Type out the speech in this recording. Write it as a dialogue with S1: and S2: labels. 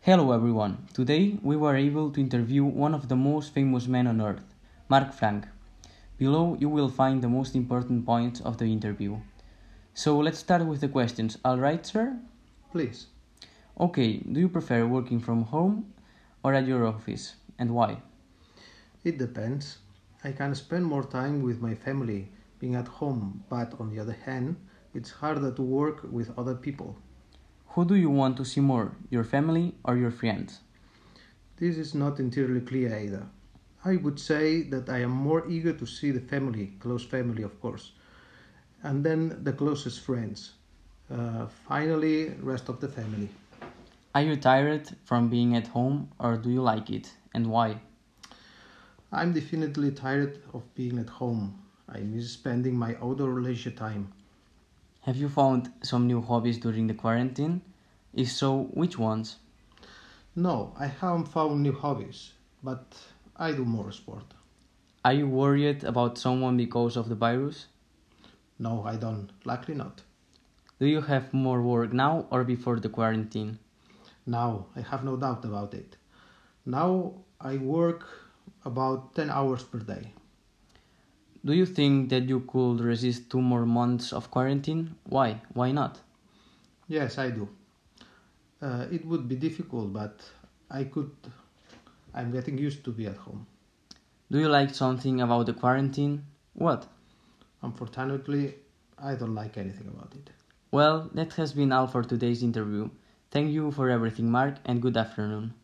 S1: Hello everyone. Today we were able to interview one of the most famous men on earth, Mark Frank. Below you will find the most important points of the interview. So let's start with the questions. All right, sir?
S2: Please.
S1: Okay, do you prefer working from home or at your office and why?
S2: It depends. I can spend more time with my family being at home, but on the other hand, it's harder to work with other people.
S1: Who do you want to see more, your family or your friends?
S2: This is not entirely clear either. I would say that I am more eager to see the family, close family of course, and then the closest friends. Uh, finally, rest of the family.
S1: Are you tired from being at home or do you like it and why?
S2: I'm definitely tired of being at home. I miss spending my outdoor leisure time.
S1: Have you found some new hobbies during the quarantine? If so, which ones?
S2: No, I haven't found new hobbies, but I do more sport.
S1: Are you worried about someone because of the virus?
S2: No, I don't. Luckily not.
S1: Do you have more work now or before the quarantine?
S2: Now, I have no doubt about it. Now I work about 10 hours per day.
S1: Do you think that you could resist two more months of quarantine? Why? Why not?
S2: Yes, I do. Uh, it would be difficult, but I could. I'm getting used to be at home.
S1: Do you like something about the quarantine? What?
S2: Unfortunately, I don't like anything about it.
S1: Well, that has been all for today's interview. Thank you for everything, Mark, and good afternoon.